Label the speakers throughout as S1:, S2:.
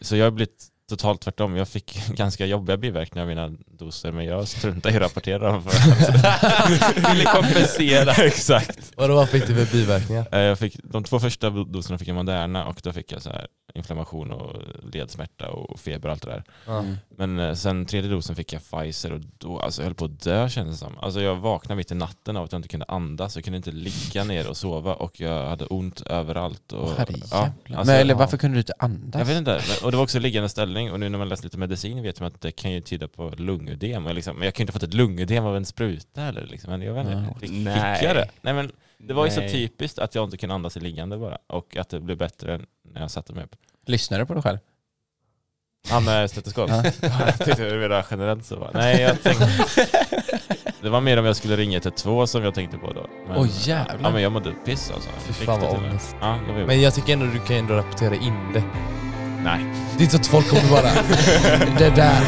S1: Så jag har blivit totalt tvärtom. Jag fick ganska jobbiga biverkningar av mina doser men jag struntade i att rapportera dem. För att ville kompensera. Exakt.
S2: Vadå, vad fick du för biverkningar?
S1: Eh, Jag fick, de två första doserna fick jag Moderna och då fick jag så här inflammation och ledsmärta och feber och allt det där.
S2: Mm.
S1: Men eh, sen tredje dosen fick jag Pfizer och då, alltså jag höll på att dö kändes det som. Alltså jag vaknade mitt i natten av att jag inte kunde andas, jag kunde inte ligga ner och sova och jag hade ont överallt. Och,
S3: Åh, herrejävlar.
S1: alltså,
S3: men, eller
S2: ja.
S3: varför kunde du inte andas?
S1: jag vet inte, men- och det var också liggande ställning och nu när man läst lite medicin vet man att det kan ju tyda på lungödem. och Liksom. Men jag kan ju inte ha fått ett lungödem av en spruta eller liksom. Men jag vet inte,
S3: Nej.
S1: fick, fick jag det? Nej, men det var ju så
S3: Nej.
S1: typiskt att jag inte kunde andas i liggande bara och att det blev bättre när jag satte mig upp.
S3: Lyssnar du på dig själv?
S1: Ja med stetoskop.
S3: Ja.
S1: jag tyckte du menade generellt så bara. Nej jag tänkte, det var mer om jag skulle ringa 112 som jag tänkte på då. Men,
S3: Åh jävlar.
S1: ja men jag mådde piss alltså.
S2: Fy fan, vad
S1: Riktigt illa.
S2: ångest.
S1: Ja, det var jobbigt.
S2: Men jag tycker ändå du kan ändå rapportera in det.
S1: Nej.
S2: Det är inte så att folk kommer bara det där.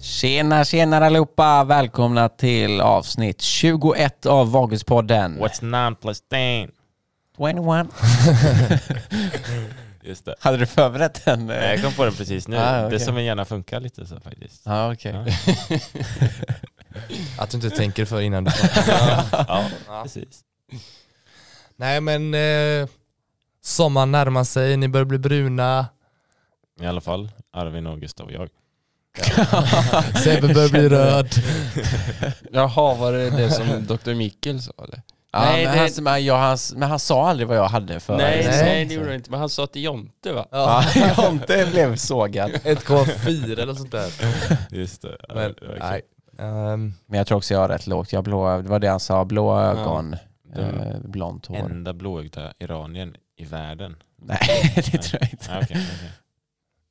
S3: Tjena, tjena allihopa! Välkomna till avsnitt 21 av Vagelspodden.
S1: What's nine plus ten?
S3: 21.
S1: Just det.
S3: Hade du förberett den?
S1: Nej, Eh, Jag kom på den precis nu.
S3: Ah, okej.
S1: Det är som en gärna funkar lite så faktiskt.
S3: Ja, okej.
S1: Ja.
S2: Att du inte tänker för innan du
S1: Ja, precis.
S2: Nej men eh, sommaren närmar sig, ni börjar bli bruna.
S1: I alla fall Arvin och Gustav och jag.
S2: Sebbe börjar bli röd.
S4: Jaha, var det det som Dr. Mikkel sa eller?
S3: Ja,
S4: Nej,
S3: men,
S4: det-
S3: han, men, jag, han, men han sa aldrig vad jag hade för...
S4: nej,
S2: nej.
S4: nej, det gjorde han inte. Men han sa till Jonte va?
S2: Ja.
S3: jag inte blev sågad.
S2: 1,4 eller sånt där.
S1: Just det. Ja,
S2: Men,
S1: det var
S2: nej.
S1: kul.
S2: Ehm,
S3: Men jag tror också jag har rätt lågt. Jag har blå, det var det han sa, blå ögon,
S1: Den
S3: eh, blont hår.
S1: enda blåögda iraniern i världen.
S3: Nej, det tror jag inte.
S1: Ah, okej, okej.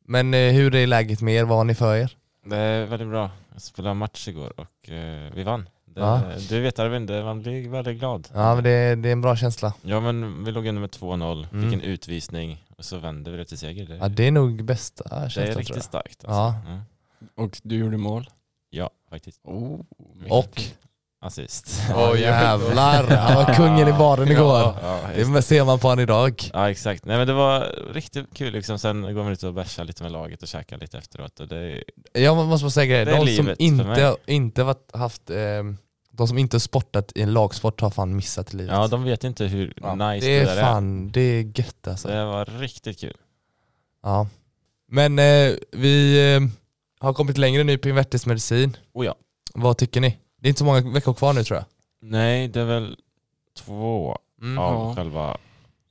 S2: men eh, hur är läget med er? Vad har ni för er?
S1: Det är väldigt bra. Jag spelade match igår och eh, vi vann. Det,
S2: Ja.
S1: Du vet Arvin, det, man blir väldigt glad.
S2: Ja men det, det är en bra känsla.
S1: Ja, men vi låg under med 2-0,
S2: Mm.
S1: fick en utvisning och så vände vi det till seger. Det,
S2: Ja, det är nog bästa känslan
S1: det är
S2: tror
S1: riktigt
S2: jag.
S1: starkt.
S2: Ja.
S1: Alltså. Mm.
S4: Ah, Och du gjorde mål?
S1: ja, faktiskt.
S4: Oh.
S2: Och?
S1: Assist.
S2: Åh jävlar, han var kungen i baren igår.
S1: Ja, just
S2: Det ser man på han idag.
S1: Ja exakt, nej men det var riktigt kul liksom. Sen går man ut och bärsar lite med laget och käkar lite efteråt och det är
S2: Jag må- måste bara säga
S1: Det är
S2: grejer, de som
S1: livet för
S2: inte,
S1: mig.
S2: inte varit, haft, ehm, de som inte sportat i en lagsport har fan missat livet.
S1: Ja de vet inte hur
S2: Ja,
S1: nice
S2: det
S1: det,
S2: är
S1: där är.
S2: fan, det är gött
S1: Så
S2: alltså.
S1: det var riktigt kul.
S2: Ja. Men eh, vi eh, har kommit längre nu på invärtesmedicin.
S1: Oh ja.
S2: Vad tycker ni? Det är inte så många veckor kvar nu tror jag.
S1: Nej det är väl två
S2: Mm.
S1: av
S4: ja.
S1: själva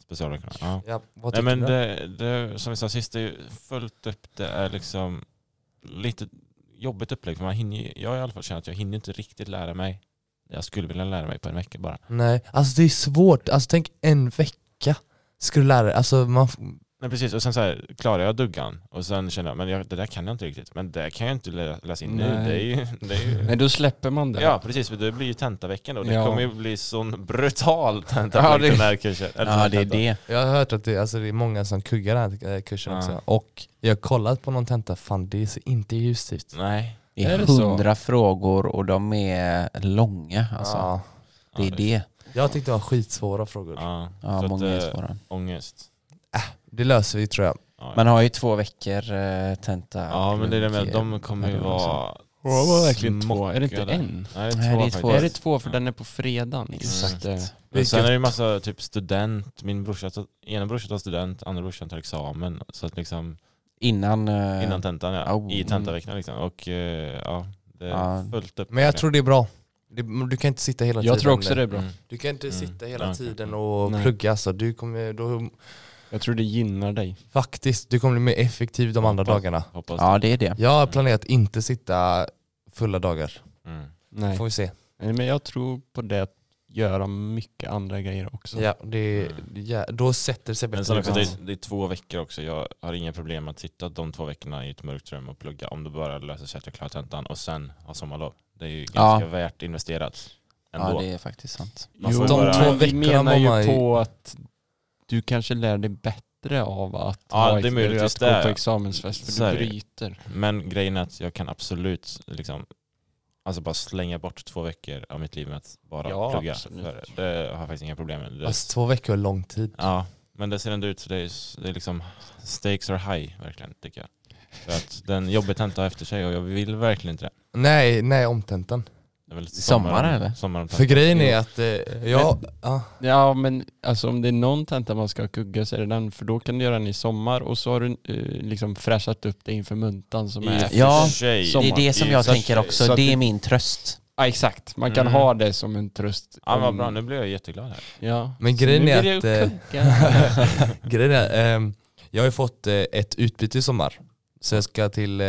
S1: specialveckorna. Ja.
S2: Ja, vad
S1: Nej
S2: tycker
S1: men
S2: du?
S1: det, det, som vi sa sist, det är ju fullt upp. Det är liksom lite jobbigt upplägg för man hinner ju, jag i alla fall känner att jag hinner inte riktigt lära mig. Jag skulle vilja lära mig på en vecka bara.
S2: Nej, alltså det är svårt. Alltså tänk en vecka skulle du lära dig. Alltså man... f-
S1: Nej precis, och sen så här, klarar jag duggan och sen känner jag, men jag, det där kan jag inte riktigt. Men det kan jag inte lä- läsa in nu.
S4: Nej.
S1: Det är ju, det är ju...
S4: Men då släpper man det.
S1: Ja precis, för det blir ju tentaveckan då. Det
S4: Ja.
S1: kommer ju bli sån brutal tentavecka
S4: Ja, det-
S1: den här kursen. Eller
S3: Ja, det är
S1: tentan.
S3: det.
S2: Jag har hört att det, alltså det är många som kuggar den här eh, kursen
S1: Ja.
S2: också. Och jag har kollat på någon tenta, fan det ser inte ljust ut.
S1: Nej.
S3: Det
S4: Är
S3: är
S4: det så?
S3: hundra frågor och de är långa. Alltså.
S2: Ja.
S3: Det är
S1: Ja,
S3: det.
S2: Jag tyckte det var skitsvåra frågor.
S1: Ja,
S3: Ja,
S1: så
S3: många
S1: att,
S3: är
S1: eh,
S3: svåra.
S1: ångest.
S2: Det löser vi tror jag.
S1: Ja,
S3: Man har ju två veckor eh, tenta.
S1: ja men det är det med,
S3: plugg.
S1: de kommer ju
S3: Ja, det var
S1: vara...
S4: Det var verkligen två.
S1: smockade.
S4: Är det inte en?
S1: Nej det
S3: Nej,
S1: är två
S3: det är två.
S1: faktiskt.
S4: Är det två för den är på fredagen?
S1: Exakt.
S4: Mm.
S1: Men sen
S2: Vilket-
S1: är det ju massa typ student, min brorsa, tar- ena brorsan tar student, andra brorsan tar examen. Så att liksom
S3: Innan... eh,
S1: innan tentan ja,
S3: oh,
S1: i tentaveckan liksom. Och eh, ja, det är
S3: Ja.
S1: fullt upp.
S2: Men jag tror det är bra. Det- Du kan inte sitta hela tiden.
S4: Jag tror också det är bra.
S1: Mm.
S2: Du kan inte
S1: Mm.
S2: sitta hela
S1: Ja, okej.
S2: tiden och
S4: Nej.
S2: plugga alltså. Du kommer, då,
S4: Jag tror det gynnar dig.
S2: faktiskt, du kommer bli mer effektiv de andra
S1: Hoppas.
S2: dagarna.
S1: Hoppas
S3: Ja, det är det.
S2: Jag har planerat inte sitta fulla dagar.
S1: Mm.
S4: Nej.
S2: Får vi se.
S4: Nej, Men jag tror på det att göra mycket andra grejer också.
S2: Ja, det, ja, då sätter det sig
S1: Men
S2: bättre. liksom.
S1: sen också,
S2: ibland.
S1: det, det är två veckor också. Jag har inga problem att sitta de två veckorna i ett mörkt rum och plugga om det bara löser sig att jag klarar tentan och sen ha sommarlov. Det är ju
S3: Ja.
S1: ganska värt investerat. ändå.
S3: Ja, det är faktiskt sant.
S1: Man
S4: alltså,
S2: Jo,
S1: får
S2: de
S1: bara,
S2: två-
S4: men vi
S2: veckorna
S4: menar
S2: var
S4: ju
S2: man ju-
S4: på att du kanske lär dig bättre av att,
S1: Ja,
S4: ha
S1: det är
S4: ex-
S1: möjligtvis
S4: att
S1: det.
S4: gå på examensfest, för
S1: Så är
S4: du
S1: det.
S4: bryter.
S1: Men grejen är att jag kan absolut liksom, alltså bara slänga bort två veckor av mitt liv med att bara
S4: Ja,
S1: plugga.
S4: absolut.
S1: För det har jag faktiskt inga problem med. Det,
S2: Alltså två veckor är lång tid.
S1: Ja,
S2: Typ.
S1: men det ser ändå ut så det är, det är liksom stakes are high verkligen tycker jag. För att den jobbig tenta har efter sig och jag vill verkligen inte det.
S2: Nej, nej omtentan.
S1: det är väl
S3: Sommar, eller?
S1: Sommaren
S2: För grejen är
S1: Jo.
S2: att, eh, ja, ja,
S4: Ja men alltså om det är någon tenta man ska kugga så är det den, för då kan du göra den i sommar och så har du eh, liksom fräschat upp det inför muntan som är...
S1: I
S3: Ja,
S1: och för sig.
S4: det
S3: Det är det som jag
S1: Så att-
S3: tänker också.
S4: så att
S3: det är
S4: du-
S3: min tröst.
S4: Ja exakt, man kan
S1: Mm.
S4: ha det som en tröst.
S1: Ja
S4: om-
S1: vad bra, nu blir jag jätteglad här.
S4: Ja.
S2: Men
S4: Så
S2: grejen
S4: nu
S2: är
S4: blir
S2: att, eh,
S4: det ju kugga.
S2: grejen är, ehm, jag har ju fått eh, ett utbyte i sommar. Så jag ska till eh,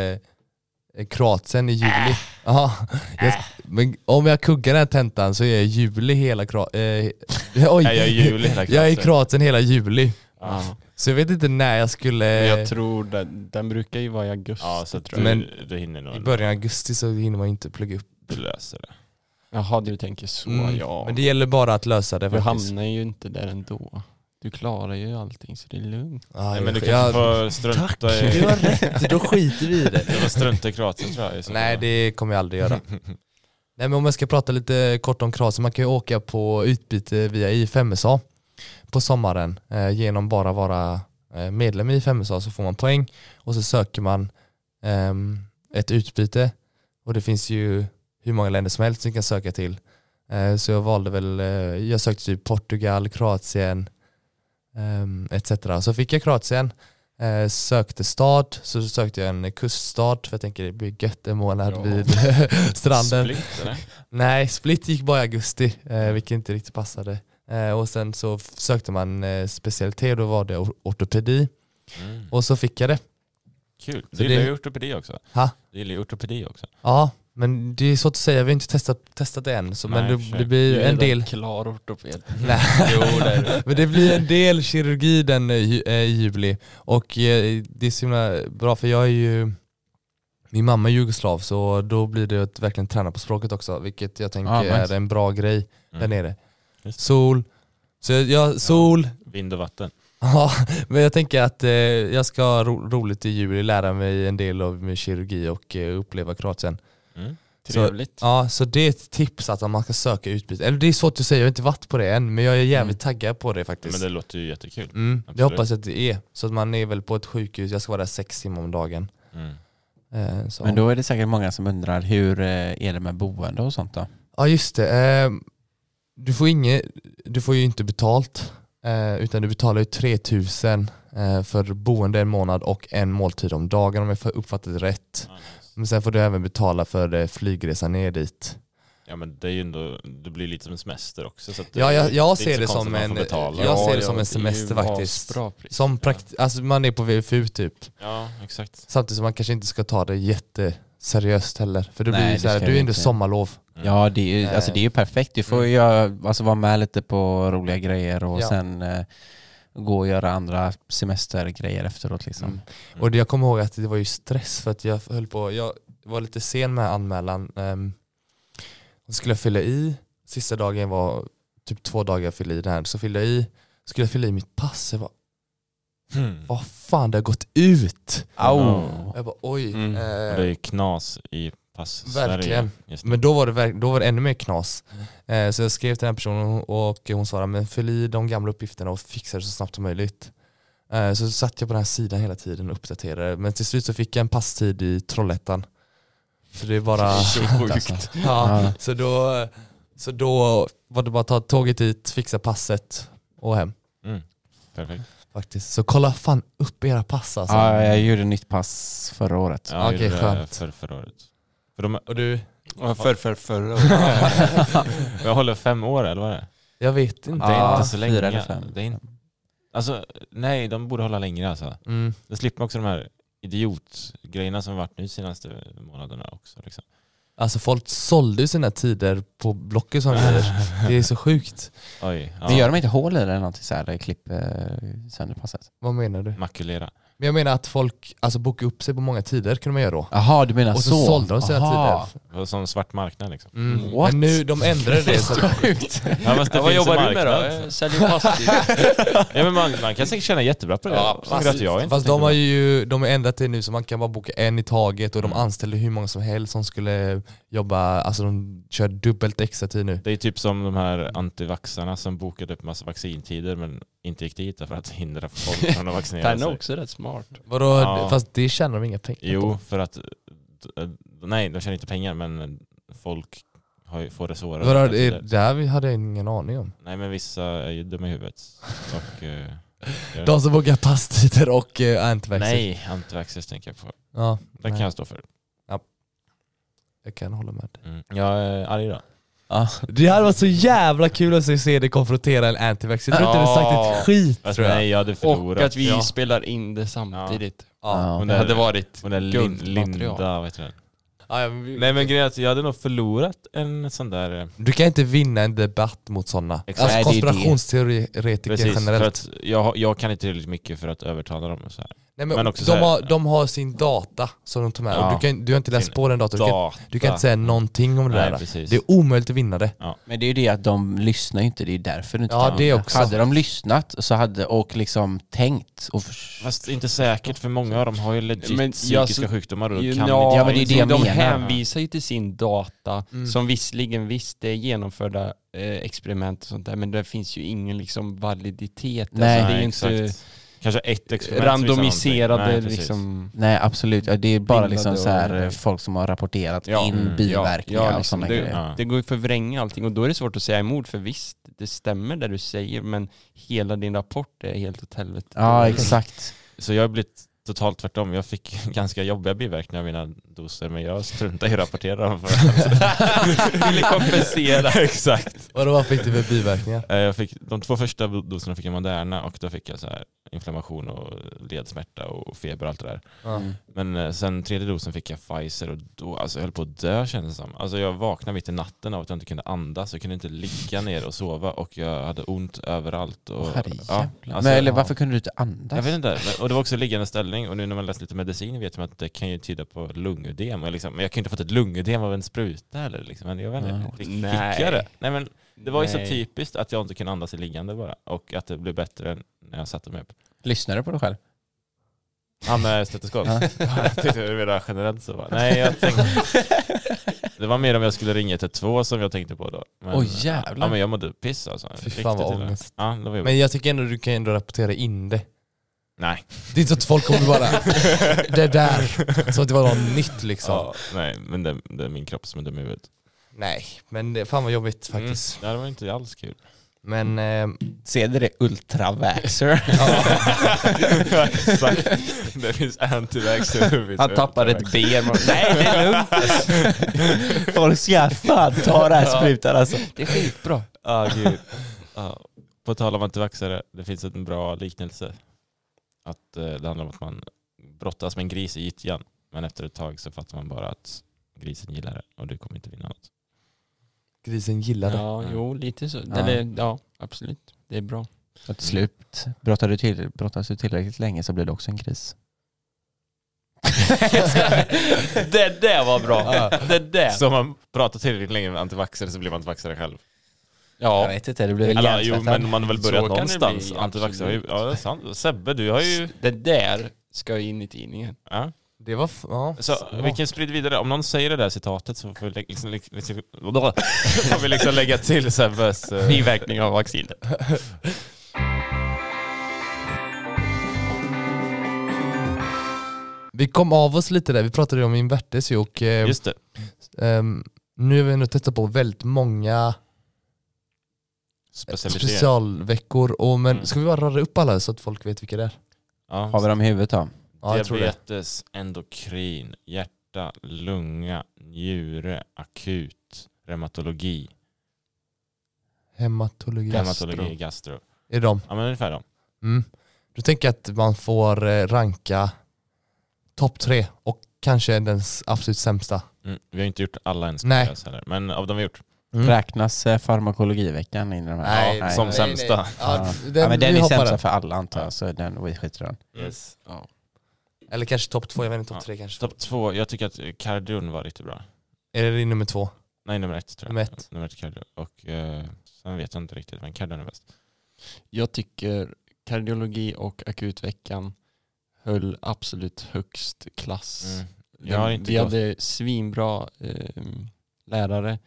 S2: Kroatien i
S1: Äh.
S2: juli. Ja, jag, men om jag kuggar den här tentan så är jag i juli hela Kroatien. Eh, oj,
S1: Nej, jag är i juli hela
S2: jag är i
S1: klassen.
S2: Kroatien hela juli.
S1: Ja,
S2: Så jag vet inte när jag skulle... eh,
S4: Men Jag tror den, den brukar ju vara i augusti.
S1: ja så att du,
S2: Men-
S1: du hinner nog.
S2: I början av augusti så hinner man inte plugga upp.
S1: Du löser det.
S4: Jaha du tänker så
S2: Mm,
S4: ja.
S2: Men det gäller bara att lösa det
S4: Du
S2: faktiskt.
S4: hamnar ju inte där ändå. Du klarar ju allting så det är lugnt.
S2: Ah,
S1: Nej, men du
S2: jag-
S1: kanske
S2: jag-
S1: får
S2: Tack,
S1: strunta
S2: du har
S1: i...
S2: rätt. Då skiter vi i det.
S1: Du får strunta i Kroatien tror jag. i så
S2: Nej
S1: fall.
S2: det kommer jag aldrig göra. Nej men om jag ska prata lite kort om Kroatien, man kan ju åka på utbyte via IFMSA på sommaren eh, genom bara vara eh, medlem i IFMSA så får man poäng och så söker man ehm, ett utbyte och det finns ju hur många länder som helst som kan söka till. Eh, så jag valde väl, eh, jag sökte typ Portugal, Kroatien ehm, etc. Så fick jag Kroatien Eh, sökte stad, så sökte jag en kuststad för jag tänker det blir gött en månad
S4: Ja.
S2: vid stranden.
S1: Split eller?
S2: Nej, Split gick bara i augusti eh, vilket inte riktigt passade. Eh, och sen så f- sökte man eh, specialitet, då var det or- ortopedi
S1: Mm.
S2: och så fick jag det.
S1: Kul.
S2: Så
S1: Du gillar
S2: det-
S1: ju ortopedi också.
S2: Ha?
S1: Du gillar ju ortopedi också.
S2: Ja, men det är svårt att säga, vi har inte testat, testat det än. Så, men
S1: Nej,
S2: det,
S1: försök.
S2: det blir ju en del
S4: klar ortoped.
S2: Nej. Men det blir en del kirurgi den eh, ju- eh, juli. Och eh, det är så himla bra för jag är ju, min mamma är jugoslav så då blir det att verkligen träna på språket också vilket jag tänker
S3: Ah, nice.
S2: är en bra grej
S1: Mm.
S2: där nere.
S1: Just det.
S2: Sol, så jag- jag, sol,
S1: Vind och vatten.
S2: ja. men jag tänker att eh, jag ska ha ro, roligt i juli, lära mig en del av min kirurgi och eh, uppleva Kroatien.
S1: Mm.
S4: Trevligt.
S2: Ja, så det är ett tips att om man ska söka utbyte. Eller det är svårt att säga, jag har inte varit på det än men jag är jävligt taggad på det faktiskt.
S1: Men det låter ju jättekul.
S2: Mm, det
S1: Absolut.
S2: hoppas jag att det är. Så att man är väl på ett sjukhus, jag ska vara där sex timmar om dagen.
S1: Mm.
S2: Eh, så.
S3: Men då är det säkert många som undrar hur eh, är det med boende och sånt då?
S1: Mm.
S2: Ja just det, eh, du, får inget, du får ju inte betalt eh, utan du betalar ju 3000 eh, för boende en månad och en måltid om dagen om jag får uppfattat det rätt.
S1: Ja, nice.
S2: Men sen får du även betala för eh, flygresan ner dit.
S1: Ja men det är ju ändå, det blir lite som en semester också. Så att det,
S2: Ja, jag- jag
S1: är
S2: ser
S1: inte
S2: det
S1: så konstigt att
S2: som
S1: man
S2: en-
S1: får betala.
S2: jag
S1: Ja,
S2: ser det som en semester faktiskt. Som prakt- alltså man är på VFU typ.
S1: ja exakt.
S2: Samtidigt som man kanske inte ska ta det jätteseriöst heller. För det
S3: Nej,
S2: blir ju
S3: det
S2: så här,
S3: ska
S2: du
S3: vi
S2: är ändå
S3: inte.
S2: sommarlov.
S1: Mm.
S3: Ja, det är ju,
S2: Eh.
S3: alltså, det är ju perfekt. Du får ju göra, alltså, vara med lite på roliga grejer och
S2: Ja.
S3: sen eh, gå och göra andra semestergrejer efteråt. Liksom.
S2: Mm. Och det- jag kommer ihåg att det var ju stress för att jag höll på, jag var lite sen med anmälan. Um, och skulle jag fylla i, sista dagen var typ två dagar jag fyllde i den här, så fyllde jag i, skulle jag fylla i mitt pass, jag bara,
S1: Mm.
S2: vad fan det har gått ut!
S3: Au.
S2: Jag bara oj.
S4: Mm.
S1: Och
S2: eh,
S1: Det är ju knas i pass
S2: Verkligen.
S1: Sverige. Just det.
S2: men då var, det, verk- då var det ännu mer knas. Eh, så jag skrev till den här personen och hon svarade men fyll i de gamla uppgifterna och fixa det så snabbt som möjligt. Eh, så satt jag på den här sidan hela tiden och uppdaterade men till slut så fick jag en passtid i Trollhättan. Så det är bara...
S3: Alltså.
S2: Ja,
S3: Ja.
S2: så, då, så då var det bara att ta tåget dit, fixa passet och hem.
S1: Mm. Perfekt.
S2: Faktiskt. Så kolla fan upp era pass alltså.
S3: Ja, jag gjorde nytt pass förra året.
S1: Ja,
S2: Okej,
S1: Okej,
S2: skönt.
S1: skönt. För förra året. För de,
S2: Och du?
S4: För, för, förra
S1: jag håller fem år eller vad är det?
S2: Jag vet inte.
S1: Det är
S3: Ja,
S1: inte så länge.
S3: fyra eller fem.
S1: Det är inte, alltså, nej, de borde hålla längre alltså.
S2: Mm.
S1: Då slipper man också de här idiotgrejerna som varit nu de senaste månaderna också. Liksom.
S2: Alltså folk sålde ju sina tider på Blocket som grejer. Det är så sjukt.
S1: Oj, ja.
S3: Men gör de inte hål i det eller någonting så här, där klipp eh, sönder passet?
S2: Vad menar du?
S1: Makulera.
S2: Men jag menar att folk alltså, bokade upp sig på många tider kunde man göra då.
S3: Jaha, du menar
S2: Och så,
S3: så?
S2: sålde de sina
S3: Aha.
S2: tider.
S1: Det var Som svart marknad liksom.
S2: Mm.
S3: What?
S2: Men nu, de ändrade det. Så att,
S3: Sjukt.
S1: Ja, fast det
S4: Ja,
S1: finns
S4: vad
S1: en
S4: jobbar du med
S1: marknad.
S4: då? Jag Säljer fastigheter?
S1: Ja, men man, man kan säkert tjäna jättebra på det.
S4: Ja,
S1: Som att jag inte
S2: fast
S1: tänker
S2: de
S1: på.
S2: har ju de har ändrat det nu så man kan bara boka en i taget och de anställde hur många som helst som skulle jobba, alltså de kör dubbelt extra tid nu.
S1: Det är typ som de här antivaxarna som bokade upp massa vaccintider men inte gick dit för att hindra folk från att vaccinera
S4: Den är
S1: sig.
S4: också rätt smart.
S2: Vadå,
S1: Ja.
S2: fast det tjänar de inga pengar på.
S1: Jo, för att... eh, Nej, de tjänar inte pengar men folk har, ju- får det svårare.
S2: Vadå,
S1: under
S2: det,
S1: tider.
S2: det här hade jag ingen aning om.
S1: Nej men vissa är ju dumma i huvudet. Och, eh, gör-
S2: De som bokar passtider och eh, antivaxxers.
S1: nej, antivaxxers tänker jag på.
S2: Ja,
S1: Det
S2: nej,
S1: kan jag stå för.
S2: jag kan hålla med.
S1: Mm. Jag är arg idag.
S3: Ja.
S2: Det hade varit så jäjävla kul att se dig konfrontera en antivaxxer. Jag tror inte du hade sagt ett skit
S1: Fast
S2: tror jag.
S1: nej, jag hade
S4: Och
S1: förlorat.
S4: att vi
S1: ja.
S4: spelar in det samtidigt.
S2: Ja.
S1: Hon
S4: Det
S1: är,
S4: hade varit...
S1: hon är Lin,
S4: guldmaterial.
S1: Linda, vad heter den?
S2: Ja, men-
S1: Nej men grejen är att jag hade nog förlorat en sån där... eh,
S2: Du kan inte vinna en debatt mot sådana.
S1: Exakt.
S2: Alltså
S3: Nej, det är ju det.
S2: konspirationsteoretiker
S1: Precis,
S2: generellt.
S1: för att jag, har- jag kan inte tillräckligt mycket för att övertala dem. och Så här.
S2: Nej, men
S1: men också så
S2: de,
S1: här-
S2: har, de har sin data som de tar med.
S1: Ja.
S2: Och du, kan, du har inte läst
S1: Sin
S2: på den datan. Du kan,
S1: Data.
S2: du kan inte säga någonting om det
S1: Nej,
S2: där.
S1: precis.
S2: Det är omöjligt att vinna det.
S3: Men det är ju det att de lyssnar ju inte, det är ju därför du inte
S2: Ja,
S3: kan.
S2: det också.
S3: Hade de lyssnat så hade, och liksom tänkt och förs-
S1: Fast inte säkert, för många av dem har ju legit
S4: Men jag-
S1: psykiska sjukdomar och då kan
S4: Ja,
S1: inte... liksom-
S3: Ja, men det är det jag
S4: de
S3: menar.
S4: hänvisar ju till sin data
S2: Mm.
S4: som visserligen visst det är genomförda eh, experiment och sånt där men det finns ju ingen liksom validitet.
S3: Nej.
S4: alltså, det är ju
S1: exakt.
S4: inte
S1: Kanske ett experiment som visar
S4: randomiserade
S1: någonting. Nej, precis.
S4: liksom...
S3: Nej absolut, ja, det är bara
S4: Bildade
S3: liksom så här,
S4: och-
S3: eh, folk som har rapporterat
S4: Ja, liksom,
S3: in
S1: mm,
S3: biverkningar och sådana
S4: det,
S3: grejer.
S1: Ja.
S4: det går ju att förvränga allting och då är det svårt att säga emot för visst, det stämmer det du säger men hela din rapport är helt åt helvete.
S3: Ja exakt.
S1: Så jag har blivit totalt tvärtom. Jag fick ganska jobbiga biverkningar av mina doser men jag struntar i att rapportera dem. För att... Ville kompensera. Exakt.
S2: Och då, vad fick du för biverkningar?
S1: Eh, Jag fick, de två första doserna fick jag Moderna och då fick jag så här inflammation och ledsmärta och feber och allt det där.
S3: Mm.
S1: Men eh, sen tredje dosen fick jag Pfizer och då, alltså jag höll på att dö kändes det som. Alltså jag vaknade mitt i natten av att jag inte kunde andas, jag kunde inte ligga ner och sova och jag hade ont överallt. Och,
S3: Åh, herrejävlar.
S1: alltså,
S3: Men eller
S1: ja.
S3: varför kunde du inte andas?
S1: Jag vet inte, men- och det var också liggande ställning och nu när man läst lite medicin vet man att det kan ju tyda på lungödem. Och Liksom, men jag kan ju inte ha fått ett lungödem av en spruta heller. Liksom. Men jag vet inte,
S3: Nej.
S1: fick, fick jag det? Nej, men det var ju så
S4: Nej.
S1: typiskt att jag inte kunde andas i liggande bara och att det blev bättre när jag satte mig upp.
S3: Lyssnar du på dig själv?
S1: Ja med stetoskop.
S3: Ja.
S1: jag tänkte du menade generellt så bara. Nej jag tänkte, det var mer om jag skulle ringa 112 som jag tänkte på då. Men,
S3: Åh, jävlar.
S1: Ja men jag mådde piss alltså.
S2: Fy
S1: Riktigt
S2: fan, vad
S1: illa.
S2: ångest.
S1: Ja det var jobbigt.
S2: Men jag tycker ändå du kan ändå rapportera in det.
S1: Nej.
S2: Det är inte så att folk kommer bara det där. Så att det var något nytt liksom.
S1: Ja, nej men det, det är min kropp som är dum i huvudet.
S2: Nej, men det, fan vad jobbigt faktiskt.
S1: Mm. Det var inte alls kul.
S2: Men eh,
S3: Ser du det ultravaxer?
S1: Exakt. Det finns antivax
S3: Han tappar ett ben. Nej det är lugnt. folk ska fan ta den här sprutan alltså.
S4: Det är skitbra.
S1: Ja gud. Ja. På tal om antivaxare, det finns en bra liknelse. Att eh, det handlar om att man brottas med en gris i gyttjan. Men efter ett tag så fattar man bara att grisen gillar det och du kommer inte vinna något.
S2: grisen gillade.
S4: Ja,
S1: Mm.
S4: jo lite så.
S3: Ja.
S4: Eller, ja, absolut. Det är bra.
S3: Så till slut, brottar du, till, brottas du tillräckligt länge så blir du också en gris.
S4: det där var bra. Det där.
S1: Så om man pratar tillräckligt länge med antivaxare så blir man antivaxare själv.
S3: Jag
S4: Ja,
S3: vet inte, det blir väl
S1: Eller, jo
S3: hjärntvättad.
S1: men man har väl
S4: Så
S1: börjat
S4: kan det bli,
S1: någonstans. antivaxare har ju- ja det är sant. Sebbe du har ju...
S4: det där ska in i tidningen.
S1: Ja.
S2: Det var... f- Ja.
S1: Så vi kan sprida vidare, om någon säger det där citatet så får vi, lä- liksom, lä- liksom, får vi liksom lägga till Sebbes... eh,
S4: Biverkning av vaccinet.
S2: Vi kom av oss lite där, vi pratade ju om invertes ju och eh,
S1: Just det.
S2: ehm, nu har vi ändå testat på väldigt många
S1: Specialisering.
S2: specialveckor. Och, men
S1: Mm.
S2: Ska vi bara rada upp alla så att folk vet vilka det är?
S1: Ja.
S3: Har vi dem i huvudet då?
S2: Ja, jag tror det.
S1: Diabetes, endokrin, hjärta, lunga, njure, akut, reumatologi,
S2: Hematologi.
S1: reumatologi, gastro.
S2: Är det dem?
S1: Ja men ungefär dem.
S2: Mm. Då tänker jag att man får eh, ranka topp tre och kanske den s- absolut sämsta.
S1: Mm. Vi har inte gjort alla än
S2: Nej.
S1: ska heller, men av de vi gjort.
S2: Mm.
S3: Räknas eh, farmakologiveckan in i de här?
S2: Nej,
S3: Ja,
S1: som
S2: nej,
S1: sämsta.
S2: nej.
S3: Ja.
S2: Ja,
S3: ja, men den
S2: vi
S3: är
S2: hoppar
S3: sämst
S2: den.
S1: Mm.
S3: för alla antar jag, så den, vi skiter i den.
S1: Yes.
S4: Ja.
S2: Eller kanske topp två, jag vet inte, topp tre kanske.
S1: Topp två, jag tycker att Cardun var riktigt bra.
S2: Är det din nummer två?
S1: Nej, nummer ett tror jag.
S2: Nummer ett.
S1: Nummer ett Cardun. Och eh, sen vet jag inte riktigt, men Cardun är bäst.
S4: Jag tycker kardiologi och akutveckan höll absolut högst klass.
S1: Mm.
S4: Den-
S1: Jag har inte
S4: vi
S1: gått-
S4: hade svinbra eh, lärare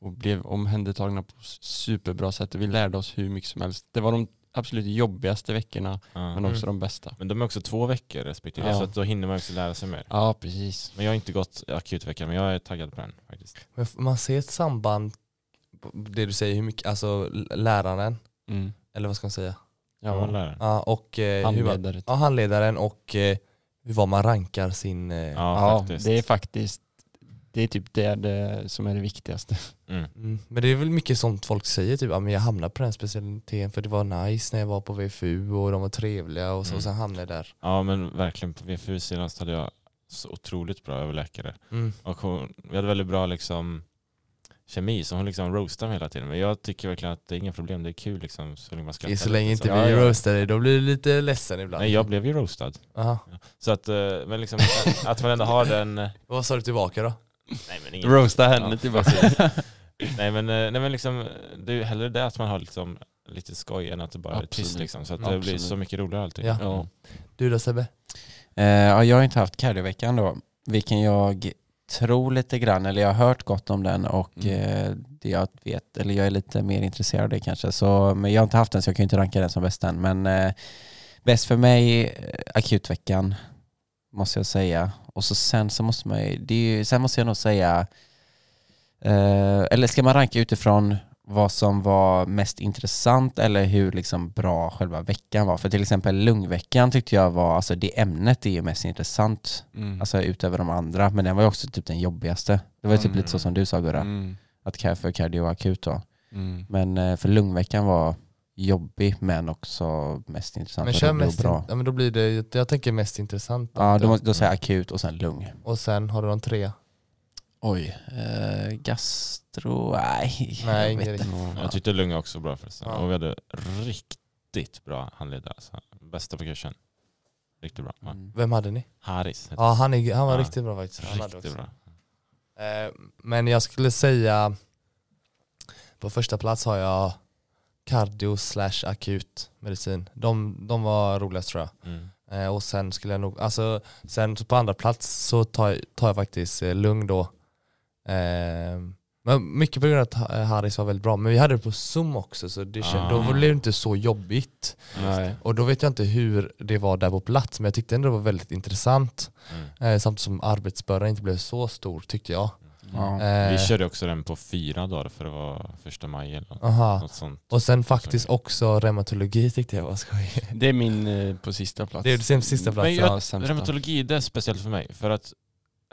S4: och blev omhändertagna på s- superbra sätt. Vi lärde oss hur mycket som helst. Det var de absolut jobbigaste veckorna
S1: Ja.
S4: men också de bästa.
S1: Men de är också två veckor respektive,
S4: Ja.
S1: så att då hinner man också lära sig mer.
S4: Ja, precis.
S1: Men jag har inte gått akutveckan, men jag är taggad på den faktiskt.
S2: Men f- man ser ett samband, på det du säger, hur mycket, alltså l- läraren,
S4: Mm.
S2: eller vad ska man säga?
S1: Ja.
S4: Ja,
S1: lärare.
S2: Ja, och eh, hur man,
S4: handledare.
S2: ja, handledaren och eh, hur vad man rankar sin... Eh,
S1: Ja,
S4: Ja,
S1: faktiskt.
S4: det är faktiskt det är typ det, det som är det viktigaste.
S1: Mm.
S2: Mm. Men det är väl mycket sånt folk säger, typ ja, men jag hamnade på den specialiteten för det var nice när jag var på VFU och de var trevliga och så,
S1: Mm.
S2: sen hamnade jag där.
S1: Ja, men verkligen. På VFU senast hade jag så otroligt bra överläkare.
S2: Mm.
S1: Och hon, vi hade väldigt bra liksom, kemi, så hon liksom roastade mig hela tiden. Men jag tycker verkligen att det är inga problem, det är kul liksom, så länge man
S2: Det är
S1: skrattar.
S2: så länge
S1: lite,
S2: inte
S1: så.
S2: vi
S1: Ja, ja.
S2: roastar dig, då blir du lite ledsen ibland.
S1: Nej, jag blev ju roastad.
S2: Aha.
S1: Så att, eh, men liksom, att- att man ändå har den... eh,
S2: Vad sa du tillbaka då?
S1: Nej men inget.
S4: Roasta
S1: Ja, precis. nej, men, eh, nej men liksom, det är ju hellre det att man har liksom lite skoj än att det bara är tyst
S4: Absolut.
S1: liksom. Så att det
S5: Absolut.
S1: blir så mycket roligare allting. Mm.
S2: Ja.
S4: Ja.
S2: Du då Sebbe?
S5: Eh, ja, jag har inte haft kardioveckan då, vilken jag tror lite grann, eller jag har hört gott om den och
S4: Mm.
S5: eh, det jag vet, eller jag är lite mer intresserad av det kanske. Så, men jag har inte haft den så jag kan ju inte ranka den som bäst än. Men eh, bäst för mig, eh, akutveckan, måste jag säga. Och så sen så måste man ju, det är ju, sen måste jag nog säga, eh, eller ska man ranka utifrån vad som var mest intressant eller hur liksom bra själva veckan var. För till exempel lungveckan tyckte jag var, alltså det ämnet är ju mest intressant,
S4: Mm.
S5: alltså utöver de andra, men den var ju också typ den jobbigaste. Det var ju typ
S1: Mm.
S5: lite så som du sa Gurra,
S4: Mm.
S5: att ka- för kardioakut då.
S4: Mm.
S5: Men eh, för lungveckan var jobbig men också mest intressant
S2: Men
S5: och
S2: kör
S5: rolig och
S2: mest,
S5: bra.
S2: in, ja, men då blir det, jag tänker mest intressant.
S5: Ja, då, måste, då säger jag akut och sen lung.
S2: Och sen har du de tre.
S5: Oj, eh, gastro, nej.
S2: Nej,
S5: jag
S2: ingen
S5: vet inte.
S1: Jag tyckte Lung var också bra förresten.
S2: Ja.
S1: Och vi hade riktigt bra handledare. Alltså. Bästa på kursen. Riktigt bra. Ja.
S5: Mm.
S2: Vem hade ni?
S1: Haris hette
S2: Ja han, är, han var
S1: Ja.
S2: riktigt bra faktiskt. Han hade också.
S1: Riktigt bra.
S2: Eh, Men jag skulle säga på första plats har jag cardio slash akut medicin. De, de var roligast tror jag.
S1: Mm.
S2: Eh, Och sen skulle jag nog, alltså sen så på andra plats så tar jag, tar jag faktiskt eh, lugn då. Eh, Men mycket på grund av att Ha- Harris var väldigt bra. Men vi hade det på Zoom också så det kände,
S1: Ah.
S2: då blev det inte så jobbigt.
S4: Nej.
S2: Och då vet jag inte hur det var där på plats men jag tyckte ändå det var väldigt intressant.
S1: Mm.
S2: Eh, Samtidigt som arbetsbördan inte blev så stor tyckte jag.
S5: Ja.
S2: Eh,
S1: Vi körde också den på fyra dagar för det var första maj eller något,
S2: Aha.
S1: något sånt.
S2: Och sen faktiskt också reumatologi tyckte jag var skoj.
S4: Det är min eh, på sista plats. Mm.
S2: Det är den sista
S1: Men
S2: platsen.
S1: jag-
S4: Ja, sämsta.
S1: Reumatologi det är speciellt för mig för att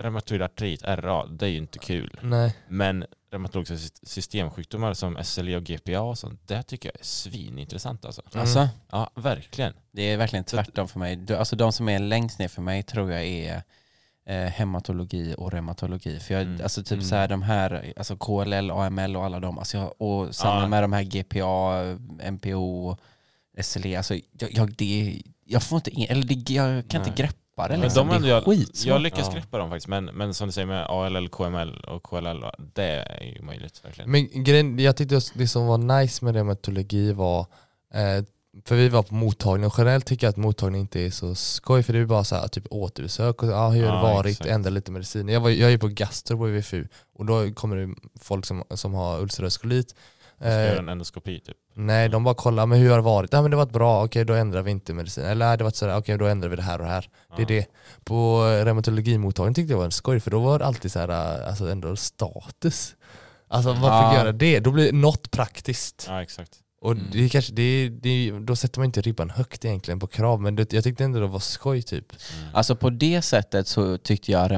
S1: reumatoid artrit, RA, det är ju inte kul.
S2: Nej.
S1: Men reumatologiska sy- systemsjukdomar som SLE och GPA och sånt, det tycker jag är svinintressant alltså.
S5: Alltså,
S1: Ja, verkligen.
S5: det är verkligen tvärtom för mig. Du- Alltså de som är längst ner för mig tror jag är eh, hematologi och reumatologi. För jag,
S1: Mm.
S5: alltså typ
S4: Mm.
S5: så här de här, alltså KLL, AML och alla de, alltså jag, och samma
S1: Ja.
S5: med de här GPA, MPO, SLE, alltså jag, jag, det, jag får inte, in, eller det, jag kan
S4: Nej.
S5: inte greppa det
S1: Men
S5: liksom.
S1: de
S5: det
S1: ändå
S5: är
S1: jag-
S5: skitsvårt.
S1: Jag lyckas
S4: Ja.
S1: greppa dem faktiskt, men, men som du säger med ALL, KML och KLL, det är ju möjligt verkligen.
S2: Men grejen, jag tyckte just det som var nice med reumatologi var, eh, för vi var på mottagning och generellt tycker jag att mottagning inte är så skoj för det är bara så här, typ återbesök och ah, hur har det
S1: Ja,
S2: varit,
S1: exakt.
S2: ändra lite medicin. Jag, var, jag är ju på gastro på VFU och då kommer det folk som, som har ulcerös kolit.
S1: Ska
S2: Eh,
S1: göra en endoskopi typ.
S2: Nej, de bara kollar, men hur har det varit? Ja men det har varit bra, okej då ändrar vi inte medicin. Eller "Nej, det har varit sådär, okej då ändrar vi det här och det här. Det är det. På eh, reumatologimottagningen tyckte jag var en skoj för då var det alltid så här, eh, alltså ändå status. Alltså man
S5: Ah.
S2: fick göra det, då blir det något praktiskt.
S1: Ja, exakt.
S2: Och
S4: Mm.
S2: det är kanske, det, är- det, är- då sätter man inte ribban högt egentligen på krav men det, jag tyckte ändå det var skoj typ.
S1: Mm.
S5: Alltså på det sättet så tyckte jag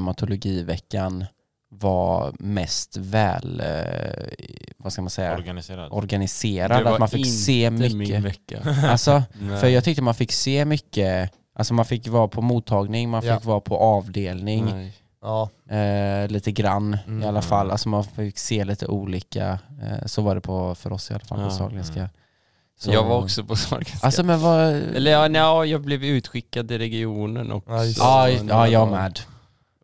S5: reumatologiveckan var mest väl, eh, vad ska man säga,
S1: Organiserad.
S5: organiserad.
S4: Det var
S5: Att man fick se
S4: Det är min
S5: mycket.
S4: vecka.
S5: Alltså,
S4: Nej.
S5: för jag tyckte man fick se mycket, alltså man fick vara på mottagning, man fick
S2: Ja.
S5: vara på avdelning,
S4: Nej.
S2: Ja,
S5: eh, lite grann
S2: Mm.
S5: i alla fall. Alltså man fick se lite olika, eh, så var det på, för oss i alla fall på
S4: Ja, Mm.
S5: Sahlgrenska. Så-
S4: Jag var också på Sahlgrenska.
S5: Alltså men vad...
S4: Eller ja, nja, jag blev utskickad i regionen också.
S2: Ja, just det.
S5: Ja, ja jag med.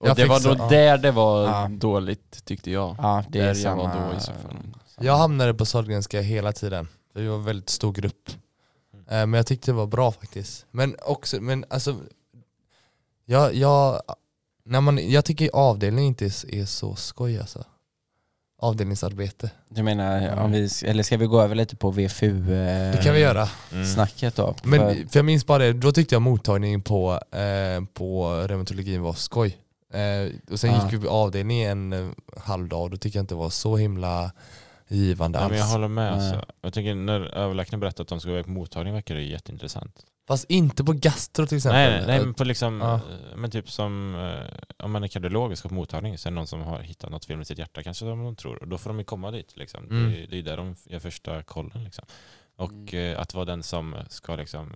S4: Och
S2: Jag
S4: det
S2: fick
S4: var
S2: så-
S4: då
S2: ja.
S4: där det var
S5: Ja.
S4: dåligt tyckte jag.
S5: Ja, det
S4: där
S5: är
S4: jag
S5: samma...
S4: var då i så fall.
S2: Jag hamnade på Sahlgrenska hela tiden. Vi var en väldigt stor grupp.
S1: Mm.
S2: Eh, Men jag tyckte det var bra faktiskt. Men också, men alltså jag, jag, när man, jag tycker avdelning inte är, s- är så skoj alltså. Avdelningsarbete.
S5: Du menar,
S4: Mm.
S5: om vi, eller ska vi gå över lite på VFU-snacket
S2: Det kan vi göra.
S1: Mm.
S5: eh, då? För-
S2: Men för jag minns bara det, då tyckte jag mottagningen på, eh, på reumatologin var skoj. Eh, och sen
S5: Ja.
S2: gick vi på avdelning en eh, halv dag och då tyckte jag inte det var så himla givande
S1: Ja, men jag
S2: alls.
S1: håller med.
S5: Nej.
S1: Alltså. Jag tycker när överläkaren berättar att de ska vara på mottagning verkar det jätteintressant.
S2: Fast inte på gastro till exempel.
S1: Nej, nej, nej men på liksom,
S2: Ja.
S1: eh, men typ som eh, om man är kardiolog och ska på mottagning så är det någon som har hittat något fel med sitt hjärta kanske som de tror. Och då får de ju komma dit liksom.
S2: Mm.
S1: Det, är- det är där de gör första kollen liksom. Och eh, att vara den som ska liksom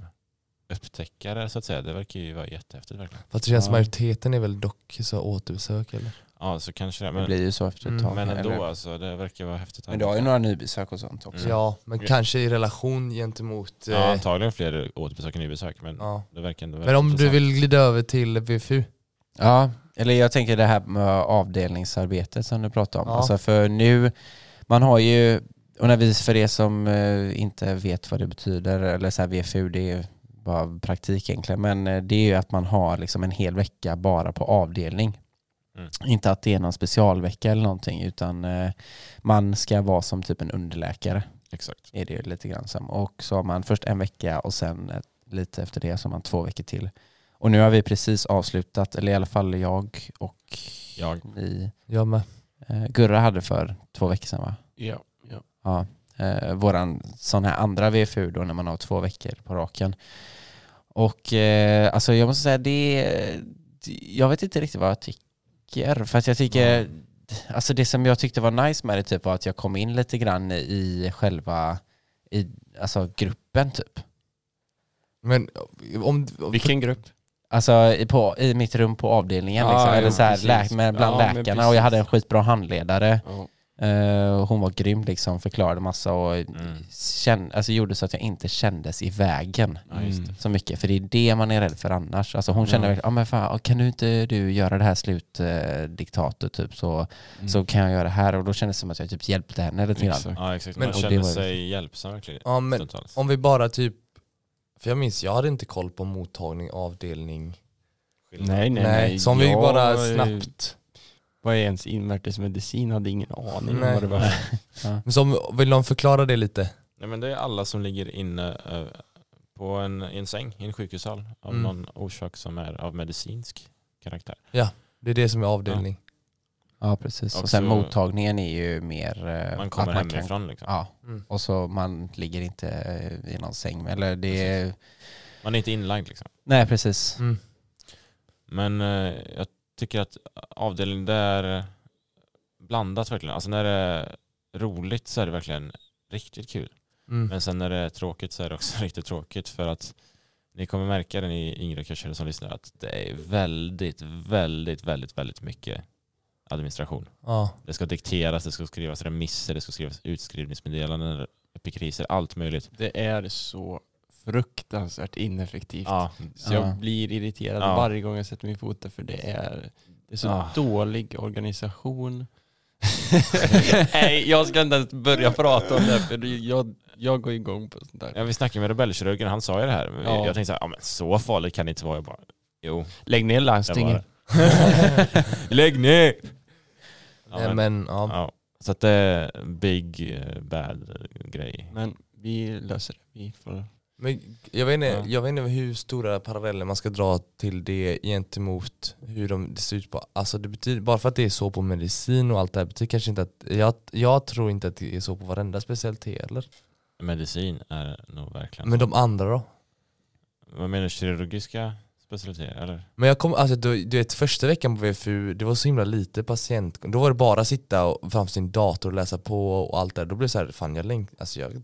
S1: upptäcka det så att säga, det verkar ju vara jättehäftigt verkligen.
S2: Fast det känns
S5: Ja.
S2: majoriteten är väl dock så återbesök eller?
S1: Ja, så kanske det.
S5: Det
S1: Men,
S5: blir ju så efter ett
S2: Mm.
S5: tag.
S1: men ändå
S5: eller?
S1: alltså, det verkar vara häftigt.
S5: Men du har ju några nybesök och sånt också.
S1: Mm.
S2: Ja, men
S1: Ja.
S2: kanske i relation gentemot... eh,
S1: Ja, antagligen fler återbesök än nybesök, men
S2: ja.
S1: det verkar ändå
S2: Men
S1: väldigt
S2: om du
S1: intressant.
S2: vill glida över till VFU?
S5: Ja, eller jag tänker det här med avdelningsarbetet som du pratade om.
S2: Ja.
S5: Alltså för nu, man har ju, och när vi för er som eh, inte vet vad det betyder, eller så här VFU, det är ju bara praktik egentligen, men eh, det är ju att man har liksom en hel vecka bara på avdelning.
S1: Mm.
S5: Inte att det är någon specialvecka eller någonting, utan eh, man ska vara som typ en underläkare
S1: Exakt.
S5: är det ju lite grann som. Och så har man först en vecka och sen eh, lite efter det så har man två veckor till. Och nu har vi precis avslutat, eller i alla fall jag och
S1: Jag.
S5: ni.
S2: Jag med.
S5: Eh, Gurra hade för två veckor sedan va?
S4: Ja, ja.
S5: Ja. Eh, våran sån här andra VFU då när man har två veckor på raken. Och eh, alltså jag måste säga det, det- jag vet inte riktigt vad jag tycker. För att jag tycker, alltså det som jag tyckte var nice med det typ var att jag kom in lite grann i själva, i, alltså gruppen typ.
S2: Men om...
S4: Vilken grupp?
S5: Alltså i, på, i mitt rum på avdelningen
S4: Ja,
S5: liksom.
S4: ja,
S5: Eller så här,
S4: precis.
S5: lä- med, bland
S4: Ja, men
S5: läkarna och jag
S4: precis.
S5: hade en skitbra handledare.
S4: Ja.
S5: Eh, och hon var grym liksom, förklarade massa och
S1: Mm.
S5: känn, alltså, gjorde så att jag inte kändes i vägen Mm.
S1: Ja, just
S4: Mm.
S1: det.
S5: så mycket. För det är det man är rädd för annars. Alltså hon kände
S4: Ja.
S5: verkligen, ah, men fan, kan du inte du göra det här slutdiktatet typ så,
S4: Mm.
S5: så kan jag göra det här. Och då kändes det som att jag typ hjälpte henne lite grann.
S4: Exakt.
S1: Ja, exakt.
S2: Men-
S1: Man
S5: och det
S1: känner
S5: var ju-
S1: sig hjälpsam verkligen.
S2: Ja, men
S1: stundtals.
S2: om vi bara typ... För jag minns, jag hade inte koll på mottagning, avdelning.
S4: Nej, nej, nej.
S2: så om vi
S4: Jag,
S2: bara
S4: eh,
S2: snabbt...
S4: Vad är ens invärtesmedicin? Hade ingen aning om
S2: Nej.
S4: vad det var.
S2: Så om, vill någon förklara det lite?
S1: Nej, men det är alla som ligger inne eh, på en, i en säng i en sjukhushall av
S2: Mm.
S1: någon orsak som är av medicinsk karaktär.
S2: Det är det som är avdelning.
S5: Ja precis. Och,
S1: Och
S5: sen
S1: så-
S5: mottagningen är ju mer eh,
S1: Man kommer
S5: att man kan-
S1: hemifrån liksom.
S5: Ja,
S2: Mm.
S5: och så man ligger inte eh, i någon säng. Eller det är...
S1: Man är inte inlagd liksom.
S5: Nej precis.
S2: Mm.
S1: Men eh, jag tycker att avdelningen där eh, blandat verkligen. Alltså när det är roligt så är det verkligen riktigt kul.
S2: Mm.
S1: Men sen när det är tråkigt så är det också riktigt tråkigt för att ni kommer märka det ni yngre kursare som lyssnar att det är väldigt, väldigt, väldigt, väldigt mycket administration.
S2: Ja.
S1: Det ska dikteras, det ska skrivas remisser, det ska skrivas utskrivningsmeddelanden, epikriser, allt möjligt.
S4: Det är så fruktansvärt ineffektivt.
S1: Ja,
S4: Så
S5: Ja.
S4: jag blir irriterad
S1: Ja.
S4: varje gång jag sätter min fot där för det är, det är så
S1: Ja.
S4: dålig organisation. Nej, jag ska inte ens börja prata om det här, för det- jag, jag går igång på sånt där.
S1: ja, vi snackade med rebellkirurgen, han sa ju det här.
S4: Ja.
S1: Jag tänkte så här, ja, men så farligt kan det inte vara. Jag bara, jo,
S4: Lägg ner
S1: jag bara,
S4: landstinget.
S1: lägg ner! Ja,
S2: Nej,
S1: men,
S2: men, ja.
S1: ja. Så att det är big eh, bad grej.
S4: Men vi löser det. Vi får...
S2: men jag, vet inte,
S4: Ja.
S2: jag vet inte hur stora paralleller man ska dra till det gentemot hur de det ser ut på. Alltså det betyder, bara för att det är så på medicin och allt det här betyder kanske inte att, jag, jag tror inte att det är så på varenda specialitet eller?
S1: Medicin är nog verkligen
S2: Men de andra då?
S1: Vad menar du, kirurgiska specialiteter? Eller?
S2: Men jag kom, alltså du, du vet första veckan på VFU, det var så himla lite patient, då var det bara sitta och, framför sin dator och läsa på och allt det där. Då blev det så här, fan jag längtar, alltså jag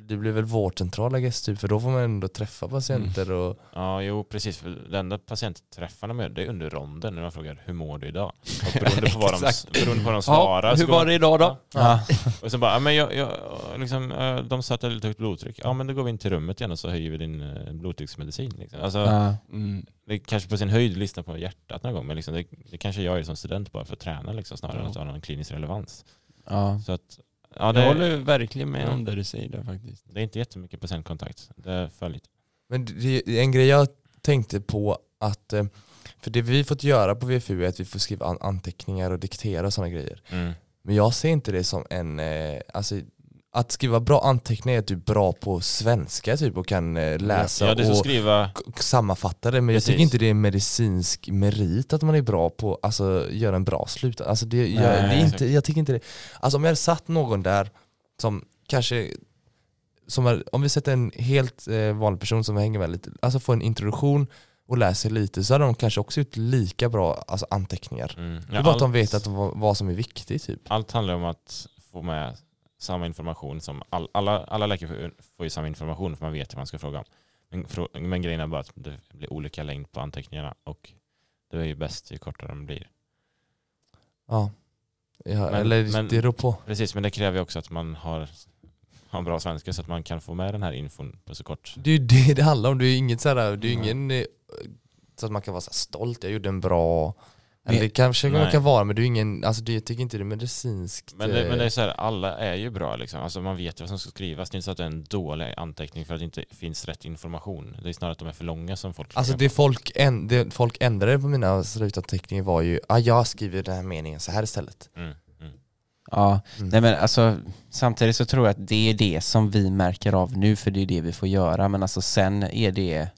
S2: det blir väl vårdcentral I guess, typ, för då får man ändå träffa patienter och
S1: Ja, jo precis. För det enda patientträffarna med det är under ronden när man frågar hur mår du idag? Och beroende på vad de,
S4: Exakt.
S1: beroende på vad de svarar
S4: Ja, hur
S1: så går
S4: var
S1: man-
S4: det idag då?
S5: Ja.
S1: Och sen bara, ja, men jag, jag, liksom, eh, de sa att jag hade lite högt blodtryck. Ja men då går vi in till rummet igen och så höjer vi din eh, blodtrycksmedicin. Liksom. Alltså,
S5: Ja.
S4: Mm.
S1: Det är kanske på sin höjd lyssna på hjärtat någon gång men liksom, det, det kanske jag är som student bara för att träna liksom, snarare
S4: Ja.
S1: än att ha någon klinisk relevans.
S5: Ja.
S1: Så att, ja,
S4: Jag
S1: det,
S4: håller verkligen med
S1: Ja.
S4: om det du säger där faktiskt.
S1: det är inte jättemycket patientkontakt. Det är för lite.
S2: Men det, det är en grej jag tänkte på att eh, för det vi fått göra på VFU är att vi får skriva an- anteckningar och diktera och sådana grejer.
S1: Mm.
S2: Men jag ser inte det som en, eh, alltså att skriva bra anteckningar är att du är bra på svenska typ och kan eh, läsa
S1: ja, det är så
S2: och
S1: skriva,
S2: k- k- sammanfatta det. Men jag tycker
S1: Precis.
S2: inte det är en medicinsk merit att man är bra på, alltså göra en bra slut. Alltså det, jag, det
S1: Nej,
S2: är inte,
S1: exakt.
S2: jag tycker inte det. Alltså om jag hade satt någon där som kanske, som är, om vi sätter en helt eh, vanlig person som hänger med lite, alltså får en introduktion och läser lite så hade de kanske också gjort lika bra alltså anteckningar.
S1: mm.
S2: det
S1: ja,
S2: är bara att de
S1: allt-
S2: vet att, vad, vad som är viktigt typ.
S1: Allt handlar om att få med samma information som all, alla, alla läkare får ju- får ju samma information för man vet vad man ska fråga om. Men, frå- men grejen är bara att det blir olika längd på anteckningarna och det är ju bäst ju kortare de blir.
S2: Ja. ja
S1: Men-
S2: eller
S1: men-
S2: det beror på.
S1: Precis, men det kräver ju också att man har, har bra svenska så att man kan få med den här infon på så kort.
S2: Det är ju det det handlar om, det är ju inget sådär, det är ju
S1: Nej.
S2: ingen eh, så att man kan vara så här stolt, jag gjorde en bra
S5: Men-
S2: men, Det kanske man
S1: Nej.
S2: kan vara men det är ju ingen, alltså det, jag tycker inte det är medicinskt
S1: Men det, men det
S2: eh,
S1: är så här, alla är ju bra liksom. Alltså man vet ju vad som ska skrivas. Det är inte så att det är en dålig anteckning för att det inte finns rätt information. Det är snarare att de är för långa som folk
S2: Alltså
S1: klagar
S2: det folk, en, det folk ändrade på mina slutanteckningar var ju, ah, jag skriver den här meningen så här istället.
S1: på. Mm, mm.
S5: Ja.
S2: Mm.
S5: Nej, men alltså, samtidigt så tror jag att det är det som vi märker av nu, för det är det vi får göra. Men alltså, sen är det,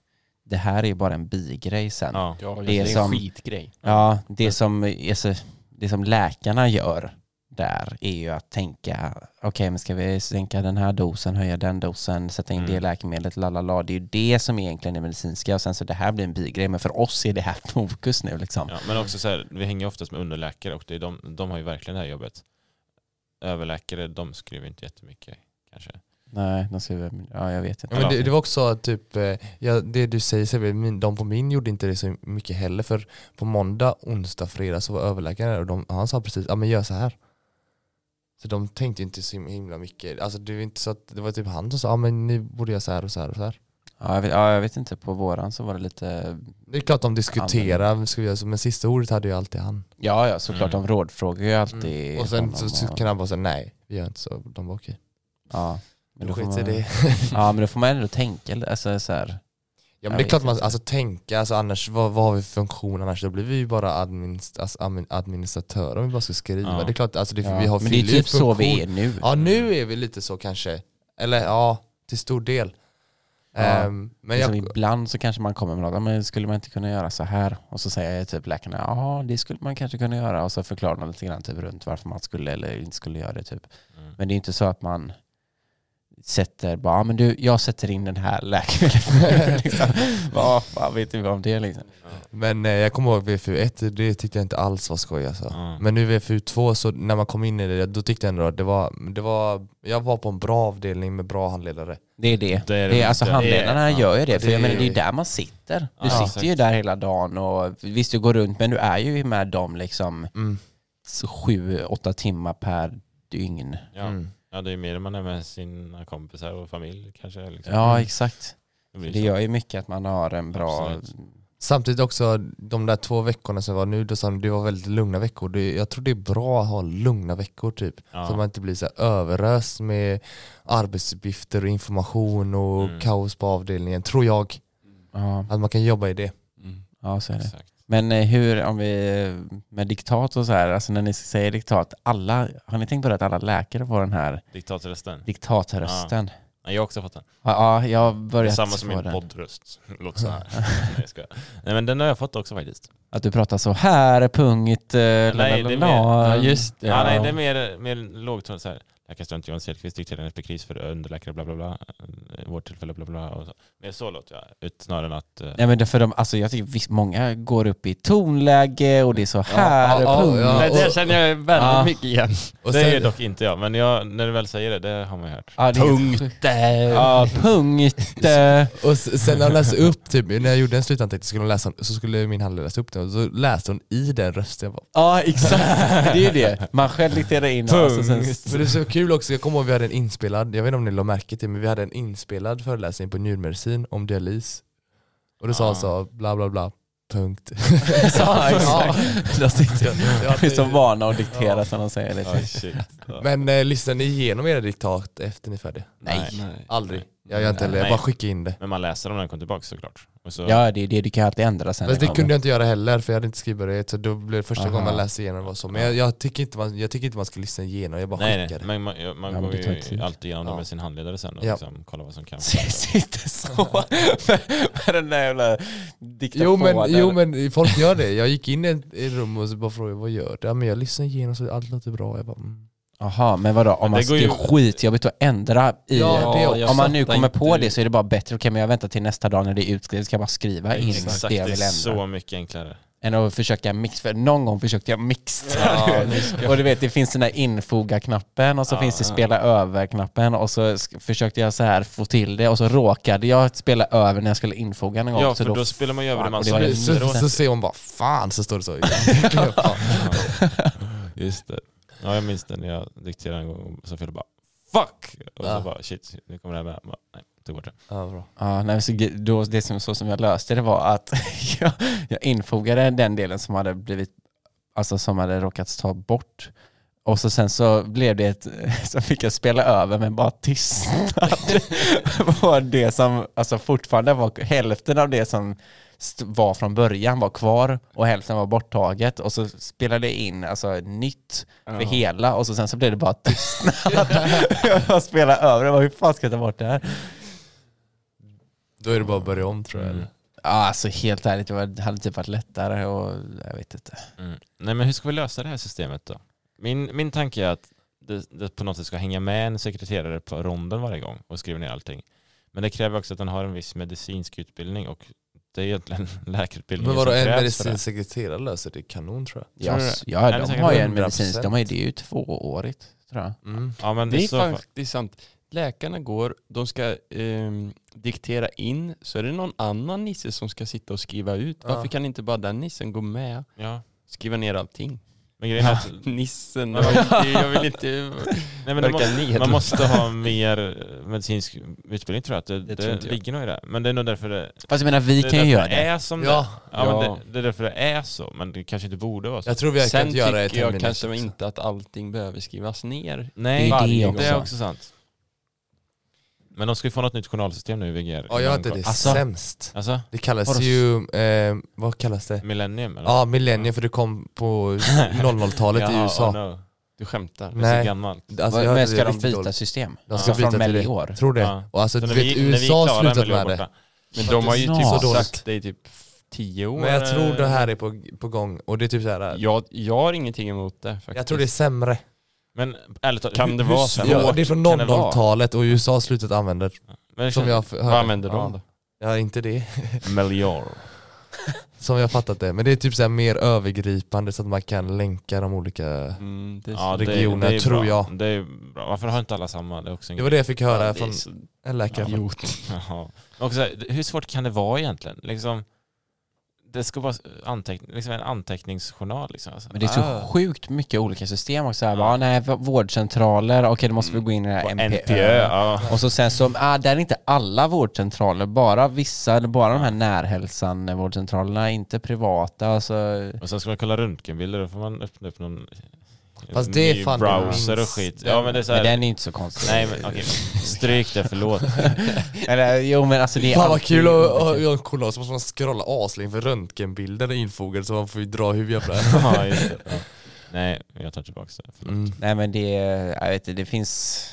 S5: det här är bara en bigrej sen. Ja,
S1: Ja.
S4: Ja,
S5: det är som-
S4: skitgrej.
S5: det, som, är så, det som läkarna gör där är ju att tänka, okej men ska vi sänka den här dosen, höja den dosen, sätta in
S1: Mm.
S5: det läkemedlet, lalala. Det är ju det som egentligen är medicinska och sen så det här blir en bigrej, men för oss är det här fokus nu liksom.
S1: Ja, men också så här, vi hänger ju oftast med underläkare och det är de, de har ju verkligen det här jobbet. Överläkare, de skriver inte jättemycket kanske.
S5: Nej, de skriver, ja jag vet inte.
S2: Ja, men det, det var också typ, eh, ja, det du säger, så här, min, de på min gjorde inte det så mycket heller för på måndag, onsdag, fredag så var överläkaren där och de, han sa precis, ja men gör så här. Så de tänkte inte så himla mycket, alltså det var inte så att det var typ han som sa, ja men ni borde göra så här och så här och så här.
S5: Ja, jag vet, ja, jag vet inte, på våran så var det lite
S2: Det är klart de diskuterar, ska vi göra så, men sista ordet hade ju alltid han.
S5: Ja, ja såklart.
S1: Mm.
S5: De rådfrågar ju alltid.
S2: Mm. Och sen
S5: honom
S2: så, så kan han bara säga nej, vi gör inte så, de bara okej.
S5: ja, men då får
S2: Skit i
S5: man,
S2: det.
S5: ja, men då får man ändå tänka. Alltså, så här,
S2: Ja
S5: Jag
S2: men det är
S5: vet
S2: klart man
S5: inte.
S2: alltså, tänka, alltså, annars, vad, vad har vi för funktion annars? Då blir vi ju bara administ, alltså, admin- administratörer om vi bara ska skriva.
S1: Ja.
S2: Det är klart, alltså, det,
S5: ja.
S2: vi har
S5: men det är
S2: fyllt
S5: typ så vi
S2: funktion.
S5: är nu.
S2: Ja nu är vi lite så kanske, eller ja, till stor del.
S5: Ja.
S2: Ehm, men
S5: liksom,
S2: jag,
S5: Ibland så kanske man kommer med något, "Ja, men skulle man inte kunna göra så här? Och så säger typ läkarna, ja det skulle man kanske kunna göra. Och så förklarar de lite grann typ, runt varför man skulle eller inte skulle göra det. Typ.
S1: Mm.
S5: Men det är inte så att man sätter, bara, "Ja, men du, jag sätter in den här läkemedlet. liksom. Vad fan vet vi om det liksom?
S2: men eh, jag kommer ihåg VFU1, det tyckte jag inte alls var skoj alltså.
S1: Ja.
S2: Men nu VFU2, så när man kom in i det, då tyckte jag ändå att det var, det var, jag var på en bra avvägning med bra handledare.
S5: Det är det.
S1: Det är det
S5: Det är, alltså
S1: inte.
S5: handledarna
S1: Det är-
S5: gör ju det, för
S2: det
S5: jag menar
S2: är-
S5: det är ju där man sitter. Du
S1: Ja,
S5: sitter ju där hela dagen och visst du går runt men du är ju med dem liksom
S2: Mm.
S5: s- sju, åtta timmar per dygn.
S1: Ja.
S2: Mm.
S1: ja, det är mer när man är med sina kompisar och familj kanske. Liksom.
S5: Ja exakt.
S1: det blir
S5: Det
S1: så.
S5: gör ju mycket att man har en bra...
S1: Absolut.
S2: Samtidigt också, de där två veckorna som var nu, då sa de, det var väldigt lugna veckor. Det, jag tror det är bra att ha lugna veckor typ.
S1: Ja.
S2: Så man inte blir så här överöst med arbetsuppgifter och information och
S1: Mm.
S2: kaos på avdelningen. Tror jag
S5: Ja,
S2: att man kan jobba i det.
S4: Mm.
S5: ja så är det.
S1: Exakt.
S5: Men eh, hur, om vi, med diktat och så här, alltså när ni säger diktat, alla, har ni tänkt på det att alla läkare får den här
S1: Diktatorrösten.
S5: diktatrösten?
S1: Nej, jag har också fått den.
S5: Ja, ja jag har börjat
S1: Samma som
S5: få
S1: min
S5: den.
S1: poddröst. Låter så här. Nej, jag skojar. Nej, men den har jag fått också faktiskt.
S5: Att du pratar så här, punkt, eh, la, la,
S1: Nej,
S5: la,
S1: det är
S5: la.
S1: mer-
S4: Ja, just det.
S1: Ja, nej, det är mer, mer lågton. så här. Läkarstudent Johan Selqvist dikterade en epikris för underläkare, bla bla bla. vårt tillfälle, bla bla. bla och så. Nej, så låter jag. Ut, snarare än att... eh,
S5: Nej men det- för de, alltså jag tycker visst, många går upp i tonläge och det är så här.
S2: ja,
S5: pung.
S2: ja.
S5: ja,
S4: Det där känner jag väldigt
S5: Ja.
S4: mycket igen.
S2: Och
S1: det är
S2: sen,
S1: dock inte jag, men jag, när du väl säger det, det har man ju hört.
S5: det är helt sjukt. Ja, punkt. eh.
S2: och s- sen när jag läste upp, typ, när jag gjorde en slutanteckning så skulle, hon läsa, så skulle min handledare läsa upp den och så läste hon i den rösten. Jag bara,
S5: Ja, exakt. Det är ju det. Man själv dikterar in och Alltså, så sen...
S2: Men det är så kul också, jag kommer ihåg vi hade en inspelad, jag vet inte om ni la märke till, men vi hade en inspelad föreläsning på njurmedicin om dialys. Och då sa han så, bla bla bla, punkt.
S5: Ja, exakt. Då sitter jag-
S2: Ja,
S5: De är så
S2: det-
S5: vana att diktera som de säger liksom. det.
S1: Ja, shit. Ja.
S2: Men eh, lyssnar ni igenom era diktat efter ni är färdiga?
S5: Nej.
S2: Aldrig. Jag gör inte heller, jag
S1: Nej.
S2: bara skickar in det.
S1: Men man läser dem när de kommer tillbaka såklart. Och så,
S5: Ja, det är det. Du kan alltid ändra sen.
S2: Men det kunde jag inte göra heller för jag hade inte skrivbehörighet så då blev det första
S5: Aha.
S2: gången man läste igenom vad som. Men jag, jag, tycker inte man, jag tycker inte man ska lyssna igenom, jag bara
S1: nej,
S2: skickar
S1: nej,
S2: det.
S1: men man, ja, man
S5: Ja, men
S1: går
S5: det tar ju
S1: ju
S5: tid.
S1: alltid igenom det
S2: Ja.
S1: med sin handledare sen och
S2: Ja.
S1: liksom, kollar vad som kan.
S5: Sitter så med, med den där jävla diktafonen.
S2: Jo men, jo men folk gör det. Jag gick in i ett i ett rum och så bara frågade vad gör du? Ja, men jag lyssnar igenom så allt låter bra. Jag bara, mm.
S5: Jaha, men vadå? Om
S1: Men
S5: man,
S1: det går
S5: det är
S1: ju-
S5: skitjobbigt att ändra i...
S2: Ja, det
S5: om man nu
S4: fattar
S5: kommer på
S4: inte-
S5: det så är det bara bättre. Okej, men jag väntar till nästa dag när det är utskrivet. Ska jag bara skriva in
S1: Exakt,
S5: det
S1: det
S5: jag vill ändra.
S1: är så mycket enklare.
S5: Än att försöka mix. För någon gång försökte jag mixa. och du vet, det finns den där infoga-knappen och så finns
S1: Ah.
S5: det spela över-knappen och så sk- försökte jag så här få till det och så råkade jag spela över när jag skulle infoga någon gång.
S1: Ja,
S5: så
S1: för då spelar man ju över det
S5: Fan,
S1: man
S5: och det
S1: sa
S5: var ju
S2: Så, så,
S1: efteråt.
S2: så ser hon bara fan så står det så. Jag tänker, "Fan."
S1: Just det. Ja, jag minns det när jag dikterade en gång och så fel bara fuck! Och så
S2: Ja.
S1: bara shit, nu kommer det här med. Jag Bara, nej, tog bort det.
S2: ja, bra.
S5: Ja, nej, så, ge- då, det som, så som jag löste det var att jag, jag infogade den delen som hade blivit, alltså som hade råkat ta bort. Och så sen så blev det ett, så fick jag spela över men bara tystnad. var det som, alltså fortfarande var hälften av det som st- var från början var kvar och hälften var borttaget och så spelade jag in alltså nytt för hela och så sen så blev det bara tystnad. jag bara spelade över det, Bara, hur fan ska jag ta bort det här?
S2: Då är det bara att börja om tror jag.
S1: Mm.
S2: eller?
S5: Ja, alltså helt ärligt, det var- det hade typ varit lättare och jag vet inte.
S1: Mm. Nej, men hur ska vi lösa det här systemet då? Min, min tanke är att det, det på något sätt ska hänga med en sekreterare på ronden varje gång och skriva ner allting. Men det kräver också att den har en viss medicinsk utbildning och det är egentligen läkarutbildningen
S2: Men vadå
S1: som
S2: en
S1: krävs för det.
S2: medicinsk sekreterare löser det kanon tror jag.
S5: Ja,
S1: du det?
S5: s- ja
S1: det är
S5: de
S1: säkert
S5: har ju en
S2: 100%.
S5: medicinsk, de har ju, det är ju tvåårigt tror jag.
S2: Mm.
S1: Ja, men
S4: Det
S1: i
S4: är
S1: så fall-
S4: faktiskt sant. Läkarna går, de ska ehm, diktera in, så är det någon annan nisse som ska sitta och skriva ut. Varför
S2: Ja.
S4: kan inte bara den nissen gå med?
S1: Ja.
S4: Skriva ner allting.
S1: Men grejen är att
S4: Nissen, jag vill inte... Jag vill inte
S1: Nej, men det
S4: Verkar
S1: måste,
S4: ned.
S1: man måste ha mer eh, medicinsk utbildning tror jag. Att det det,
S4: tror inte jag.
S1: ligger nog i det. Men det är nog därför det,
S5: Fast jag menar, vi
S1: det, är
S5: kan ju
S1: därför
S5: göra
S1: det
S5: det.
S1: är som
S2: Ja.
S1: det ja, men
S4: Ja.
S1: det. Det är därför det är så. Men det kanske inte borde vara så.
S2: Jag tror vi
S4: Sen
S2: kan göra ett
S4: tycker jag kanske inte att allting behöver skrivas ner.
S1: Nej,
S5: det är
S1: varje
S5: det
S1: gång.
S5: också.
S1: är också sant. Men de ska ju få något nytt journalsystem nu i VGR.
S2: Ja jag hade det
S5: Alltså-
S2: sämst.
S1: Alltså,
S2: Det
S5: Har
S2: kallas
S5: du-
S2: ju, eh, vad kallas det?
S1: millennium eller?
S2: Ja millennium för det kom på 00-talet i
S1: Jaha,
S2: USA.
S1: Oh no.
S4: Du skämtar.
S1: Det är så
S2: Nej.
S1: gammalt.
S2: Alltså, jag
S5: men
S2: hade
S5: ska de
S2: riktigt
S5: byta
S2: dåligt.
S5: system?
S2: De ska
S5: Ja.
S2: byta
S5: Från
S2: till det.
S5: Melior?
S2: Tror det.
S1: Ja.
S2: Och alltså
S1: Så
S2: du
S1: när vi-
S2: vet
S1: när vi är
S2: USA
S1: klara
S2: har
S1: med
S2: slutat
S1: Leo
S2: med det.
S1: borta.
S4: Men de har ju typ
S5: Så
S2: dåligt.
S4: sagt det i typ tio år.
S2: Men jag tror det här är på, på gång och det är typ så här.
S4: Jag, jag har ingenting emot det faktiskt.
S2: Jag tror det är sämre.
S1: Men ärligt talat,
S4: Kan
S1: hur-
S4: det
S1: hur
S4: vara
S1: svårt
S4: sämre?
S2: Ja, det är från
S1: kan det vara?
S2: 00-talet och USA har slutat använda det.
S1: Men liksom, det
S2: Som
S1: känns-
S2: jag f-
S4: Vad
S2: hörde.
S4: använder de då?
S2: Ja, inte det.
S1: Melior.
S2: Som jag fattat det. Men det är typ så här mer övergripande så att man kan länka de olika...
S4: Mm, det är
S1: Ja,
S4: så-
S1: det,
S2: Regioner,
S1: det är
S2: tror
S1: bra.
S2: jag.
S1: Det är bra. Varför har inte alla samma? Det är också en
S2: Det var det jag fick höra
S4: Ja, det är
S2: från
S4: så-
S2: en läkare.
S1: Ja. Jaha. Men Också, så här, hur svårt kan det vara egentligen? Liksom, det ska vara anteck liksom en anteckningsjournal. Liksom. Alltså,
S5: Men det är så
S1: ah.
S5: sjukt mycket olika system också.
S2: Ah.
S5: Ja.
S1: Ja.
S5: Bara, nej, v- vårdcentraler, okej då
S2: Mm.
S5: måste vi gå in i det här
S1: Bara
S5: NPÖ.
S1: NPÖ, ja.
S5: Och så sen så, ah, där är inte alla vårdcentraler, bara vissa, bara de här närhälsan-vårdcentralerna, inte privata. Alltså,
S1: Och sen ska man kolla röntgenbilder, då får man öppna upp någon
S2: Fast det är
S1: ny
S2: fan det
S1: browser och
S2: minst-
S1: skit. Ja men det är så
S5: men
S1: här,
S5: den är inte så konstig.
S1: Nej men okej, stryk det, förlåt.
S5: Eller, jo men alltså det är
S2: Fan vad
S5: alltid
S2: kul att
S5: olika.
S2: att göra en kollad så måste man scrolla aslänge för röntgenbilder är infogade så man får ju dra hur jävla...
S1: ja, just det. Ja. Nej, jag tar tillbaka det. Förlåt.
S2: Mm.
S5: Nej men det, jag vet inte, det finns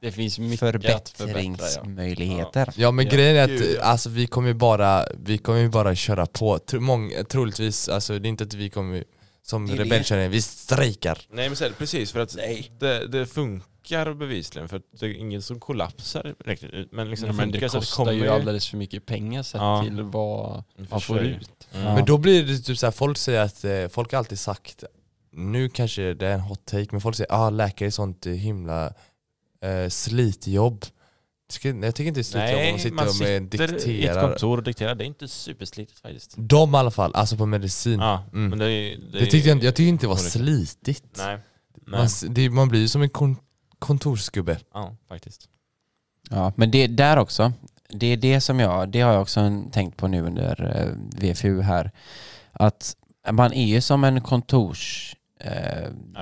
S4: Det finns mycket att förbättra. Ja.
S5: förbättringsmöjligheter.
S2: Ja men
S4: Ja,
S2: grejen är att
S4: gud, ja.
S2: alltså, vi kommer ju bara, vi kommer ju bara köra på. Tro, många, troligtvis, alltså det är inte att vi kommer som
S5: Det är det.
S2: rebellkärring, vi strejkar.
S1: Nej men så är det precis, för att det, det funkar funkar bevisligen för att det är ingen som kollapsar riktigt. ut, Men, liksom,
S4: Nej, men
S1: funkar
S4: det
S1: så att
S4: kostar ju
S1: kommer-
S4: alldeles för mycket pengar sett
S1: Ja.
S4: till vad
S1: I och för
S4: man får
S1: sig.
S4: ut.
S1: Mm.
S5: Ja.
S2: Men då blir det typ så här, folk säger att, eh, folk har alltid sagt, nu kanske det är en hot take, men folk säger ah läkare är sånt eh, himla eh, slitjobb. Tycker- Jag tycker inte det är slitjobb om
S1: Nej,
S2: man sitter
S1: man
S2: och med
S1: sitter i ett
S2: dikterar.
S1: kontor och dikterar. Det är inte superslitigt faktiskt.
S2: De i alla fall, alltså på medicin.
S1: Ja,
S2: Mm.
S1: men det, är- det,
S2: det tyckte jag, inte- jag tyckte inte det var
S1: Olika.
S2: slitigt.
S1: Nej,
S2: Man,
S1: nej.
S2: s- det, man blir ju som en kon, kontorsgubbe.
S1: Ja, faktiskt.
S5: Ja, men det där också. Det är det som jag, det har jag också en- tänkt på nu under eh, VFU här. Att man är ju som en kontors... Eh,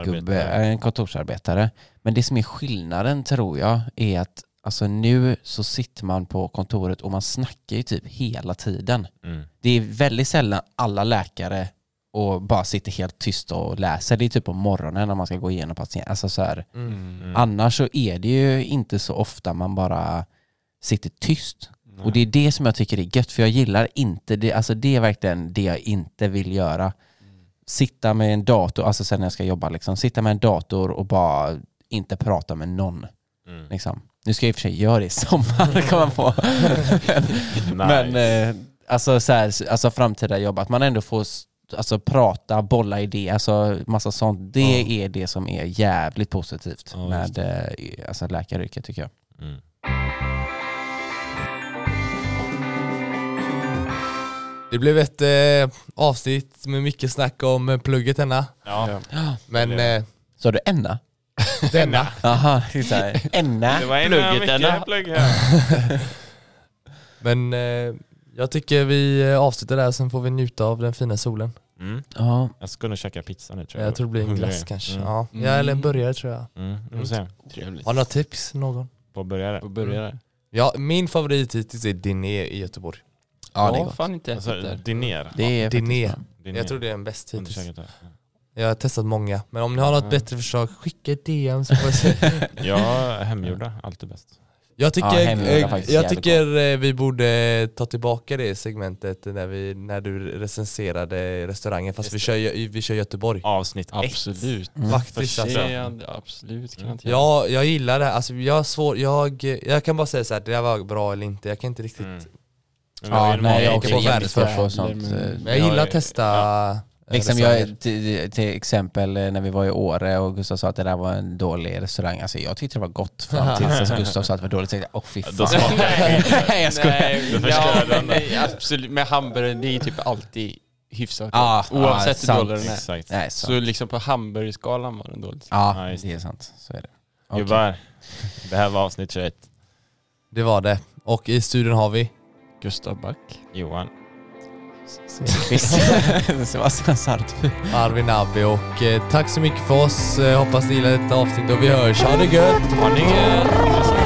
S5: gubbe,
S1: Arbetare.
S5: en kontorsarbetare. Men det som är skillnaden tror jag är att alltså, nu så sitter man på kontoret och man snackar ju typ hela tiden.
S1: Mm.
S5: Det är väldigt sällan alla läkare och bara sitter helt tyst och läser. Det är typ på morgonen när man ska gå igenom patienten. Alltså, så här.
S1: Mm.
S5: Annars så är det ju inte så ofta man bara sitter tyst.
S4: Nej.
S5: Och det är det som jag tycker är gött, för jag gillar inte det. Alltså det är verkligen det jag inte vill göra. Sitta med en dator, alltså sen när jag ska jobba, liksom, sitta med en dator och bara inte prata med någon.
S1: Mm.
S5: Liksom. Nu ska jag i och för sig göra det i sommar, kommer jag på. Men eh, alltså, så här, alltså framtida jobb, att man ändå får s- alltså, prata, bolla idéer, alltså massa sånt. Det är det som är jävligt positivt
S1: Ja, just
S5: med eh, alltså, läkaryrket tycker jag.
S1: Mm.
S2: Det blev ett eh, avsnitt med mycket snack om eh, plugget denna.
S1: Ja,
S2: Men
S1: Det blev
S2: eh,
S5: Så du Enna?
S2: denna.
S5: Jaha, så här, Enna?
S1: det var en
S5: Plugget,
S1: mycket
S5: Enna?
S1: plugg här.
S2: Men eh, jag tycker vi eh, avslutar där, sen får vi njuta av den fina solen.
S1: Mm.
S5: Ja,
S1: Jag ska nog käka pizza nu tror jag.
S2: Jag tror det blir en
S1: Hungrig.
S2: glass kanske.
S1: Mm.
S2: Ja.
S4: Mm.
S2: ja, eller en burgare tror jag.
S1: Mm. Vi får se.
S4: Trevligt.
S2: Har du några tips? Någon?
S1: På burgare.
S4: Och började.
S2: Ja, min favorit hittills är Diné i Göteborg.
S5: ja det är
S4: jag har
S5: gott.
S4: fan inte ätit
S1: Alltså,
S4: där.
S1: diner.
S5: Det är
S2: Diné.
S5: faktiskt bra.
S1: diner.
S2: Jag tror det är den bäst
S1: Har du
S2: hittills.
S1: käkat det?
S2: Jag har testat många, men om ni har något
S4: Ja.
S2: bättre förslag, skicka ett DM så får jag se.
S1: Ja, hemgjorda. Alltid bäst.
S2: Jag tycker,
S5: Ja, hemgjorda är
S2: eh,
S5: faktiskt
S2: jag
S5: jävligt
S2: tycker eh, vi borde ta tillbaka det segmentet när, vi, när du recenserade restaurangen, fast vi kör, Gö- vi kör Göteborg.
S1: Avsnitt ett.
S4: Absolut.
S5: Mm.
S2: Faktiskt
S4: Det
S2: alltså.
S4: är jag absolut kan jag inte göra.
S2: Ja, jag gillar det. här. Alltså, jag, har svår, jag, jag kan bara säga så här, det där var bra eller inte. Jag kan inte riktigt...
S1: Mm. Men vi har
S5: Ja,
S1: ju
S5: nej, jag
S1: många
S5: åker
S2: på
S1: olika-
S5: jävligt
S2: världsförst
S5: för och sånt. eh,
S2: Men jag
S1: Ja,
S2: gillar
S1: eh,
S2: att testa... eh,
S5: Liksom
S2: restauranger.
S5: jag, till, till exempel eh, när vi var i Åre och Gustav sa att det där var en dålig restaurang. Alltså jag tyckte det var gott fram tills att Gustav sa att det var dåligt. Så tänkte jag, åh fy
S1: Då
S5: fan.
S1: smakar det skit.
S5: Nej jag skojar.
S1: Du
S4: ja,
S1: förstör
S4: men,
S1: den.
S4: nej, absolut. Med hamburgaren, det är typ alltid hyfsat
S5: Ja,
S4: gott. Oavsett
S5: ja,
S4: hur dålig den är.
S1: Exakt.
S5: Nej, så.
S4: Så liksom på hamburgerskalan var den dålig.
S5: Ja,
S1: Ja, just
S5: det är sant. Så är det. Okej.
S1: Gubbar, det här var avsnitt 21.
S2: Det var det. Och i studion har vi...
S4: Gustav Back.
S1: Johan.
S5: Segerqvist. Sebastian Sartby.
S2: Arvin Abbe och eh, tack så mycket för oss. Eh, hoppas ni gillar detta avsnitt och vi hörs. Ha det gött!
S1: Har ni...